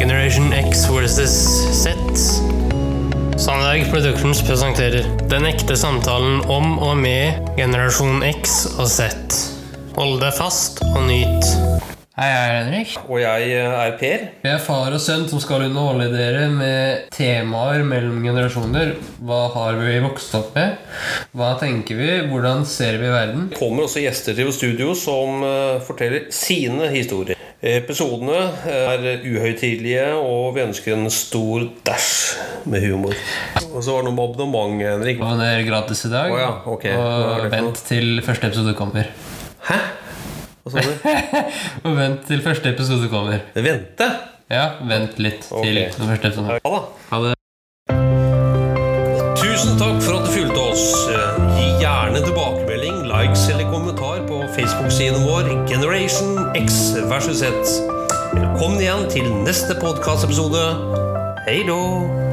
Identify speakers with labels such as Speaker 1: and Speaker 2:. Speaker 1: Generation X versus Z. Sandberg Productions presenterer Den ekte samtalen om og med generasjon X og Z. Hold deg fast og nyt. Hei, jeg er Henrik.
Speaker 2: Og jeg eh, er Per.
Speaker 1: Vi er far og sønn som skal underholde dere med temaer mellom generasjoner. Hva har vi vokst opp med? Hva tenker vi? Hvordan ser vi verden?
Speaker 2: Det kommer også gjester til studio som eh, forteller sine historier. Episodene eh, er uhøytidelige, og vi ønsker en stor dæsj med humor. Og så var det noe med abonnement, Henrik.
Speaker 1: Og det er gratis i dag.
Speaker 2: Å ja, ok. Hva er
Speaker 1: Og
Speaker 2: det for noe?
Speaker 1: vent til første episode kommer.
Speaker 2: Hæ? Hva sa du?
Speaker 1: Og vent til første episode kommer.
Speaker 2: Vente?
Speaker 1: Ja, vent litt til
Speaker 2: Ok.
Speaker 1: den første episoden.
Speaker 2: Ja da.
Speaker 1: Ha det.
Speaker 2: Tusen takk for at du fulgte oss. Eh, Gi gjerne tilbakemelding, likes eller kommentar på Facebook-siden vår Generation X versus Z. Velkommen igjen til neste podkastepisode. Hei då!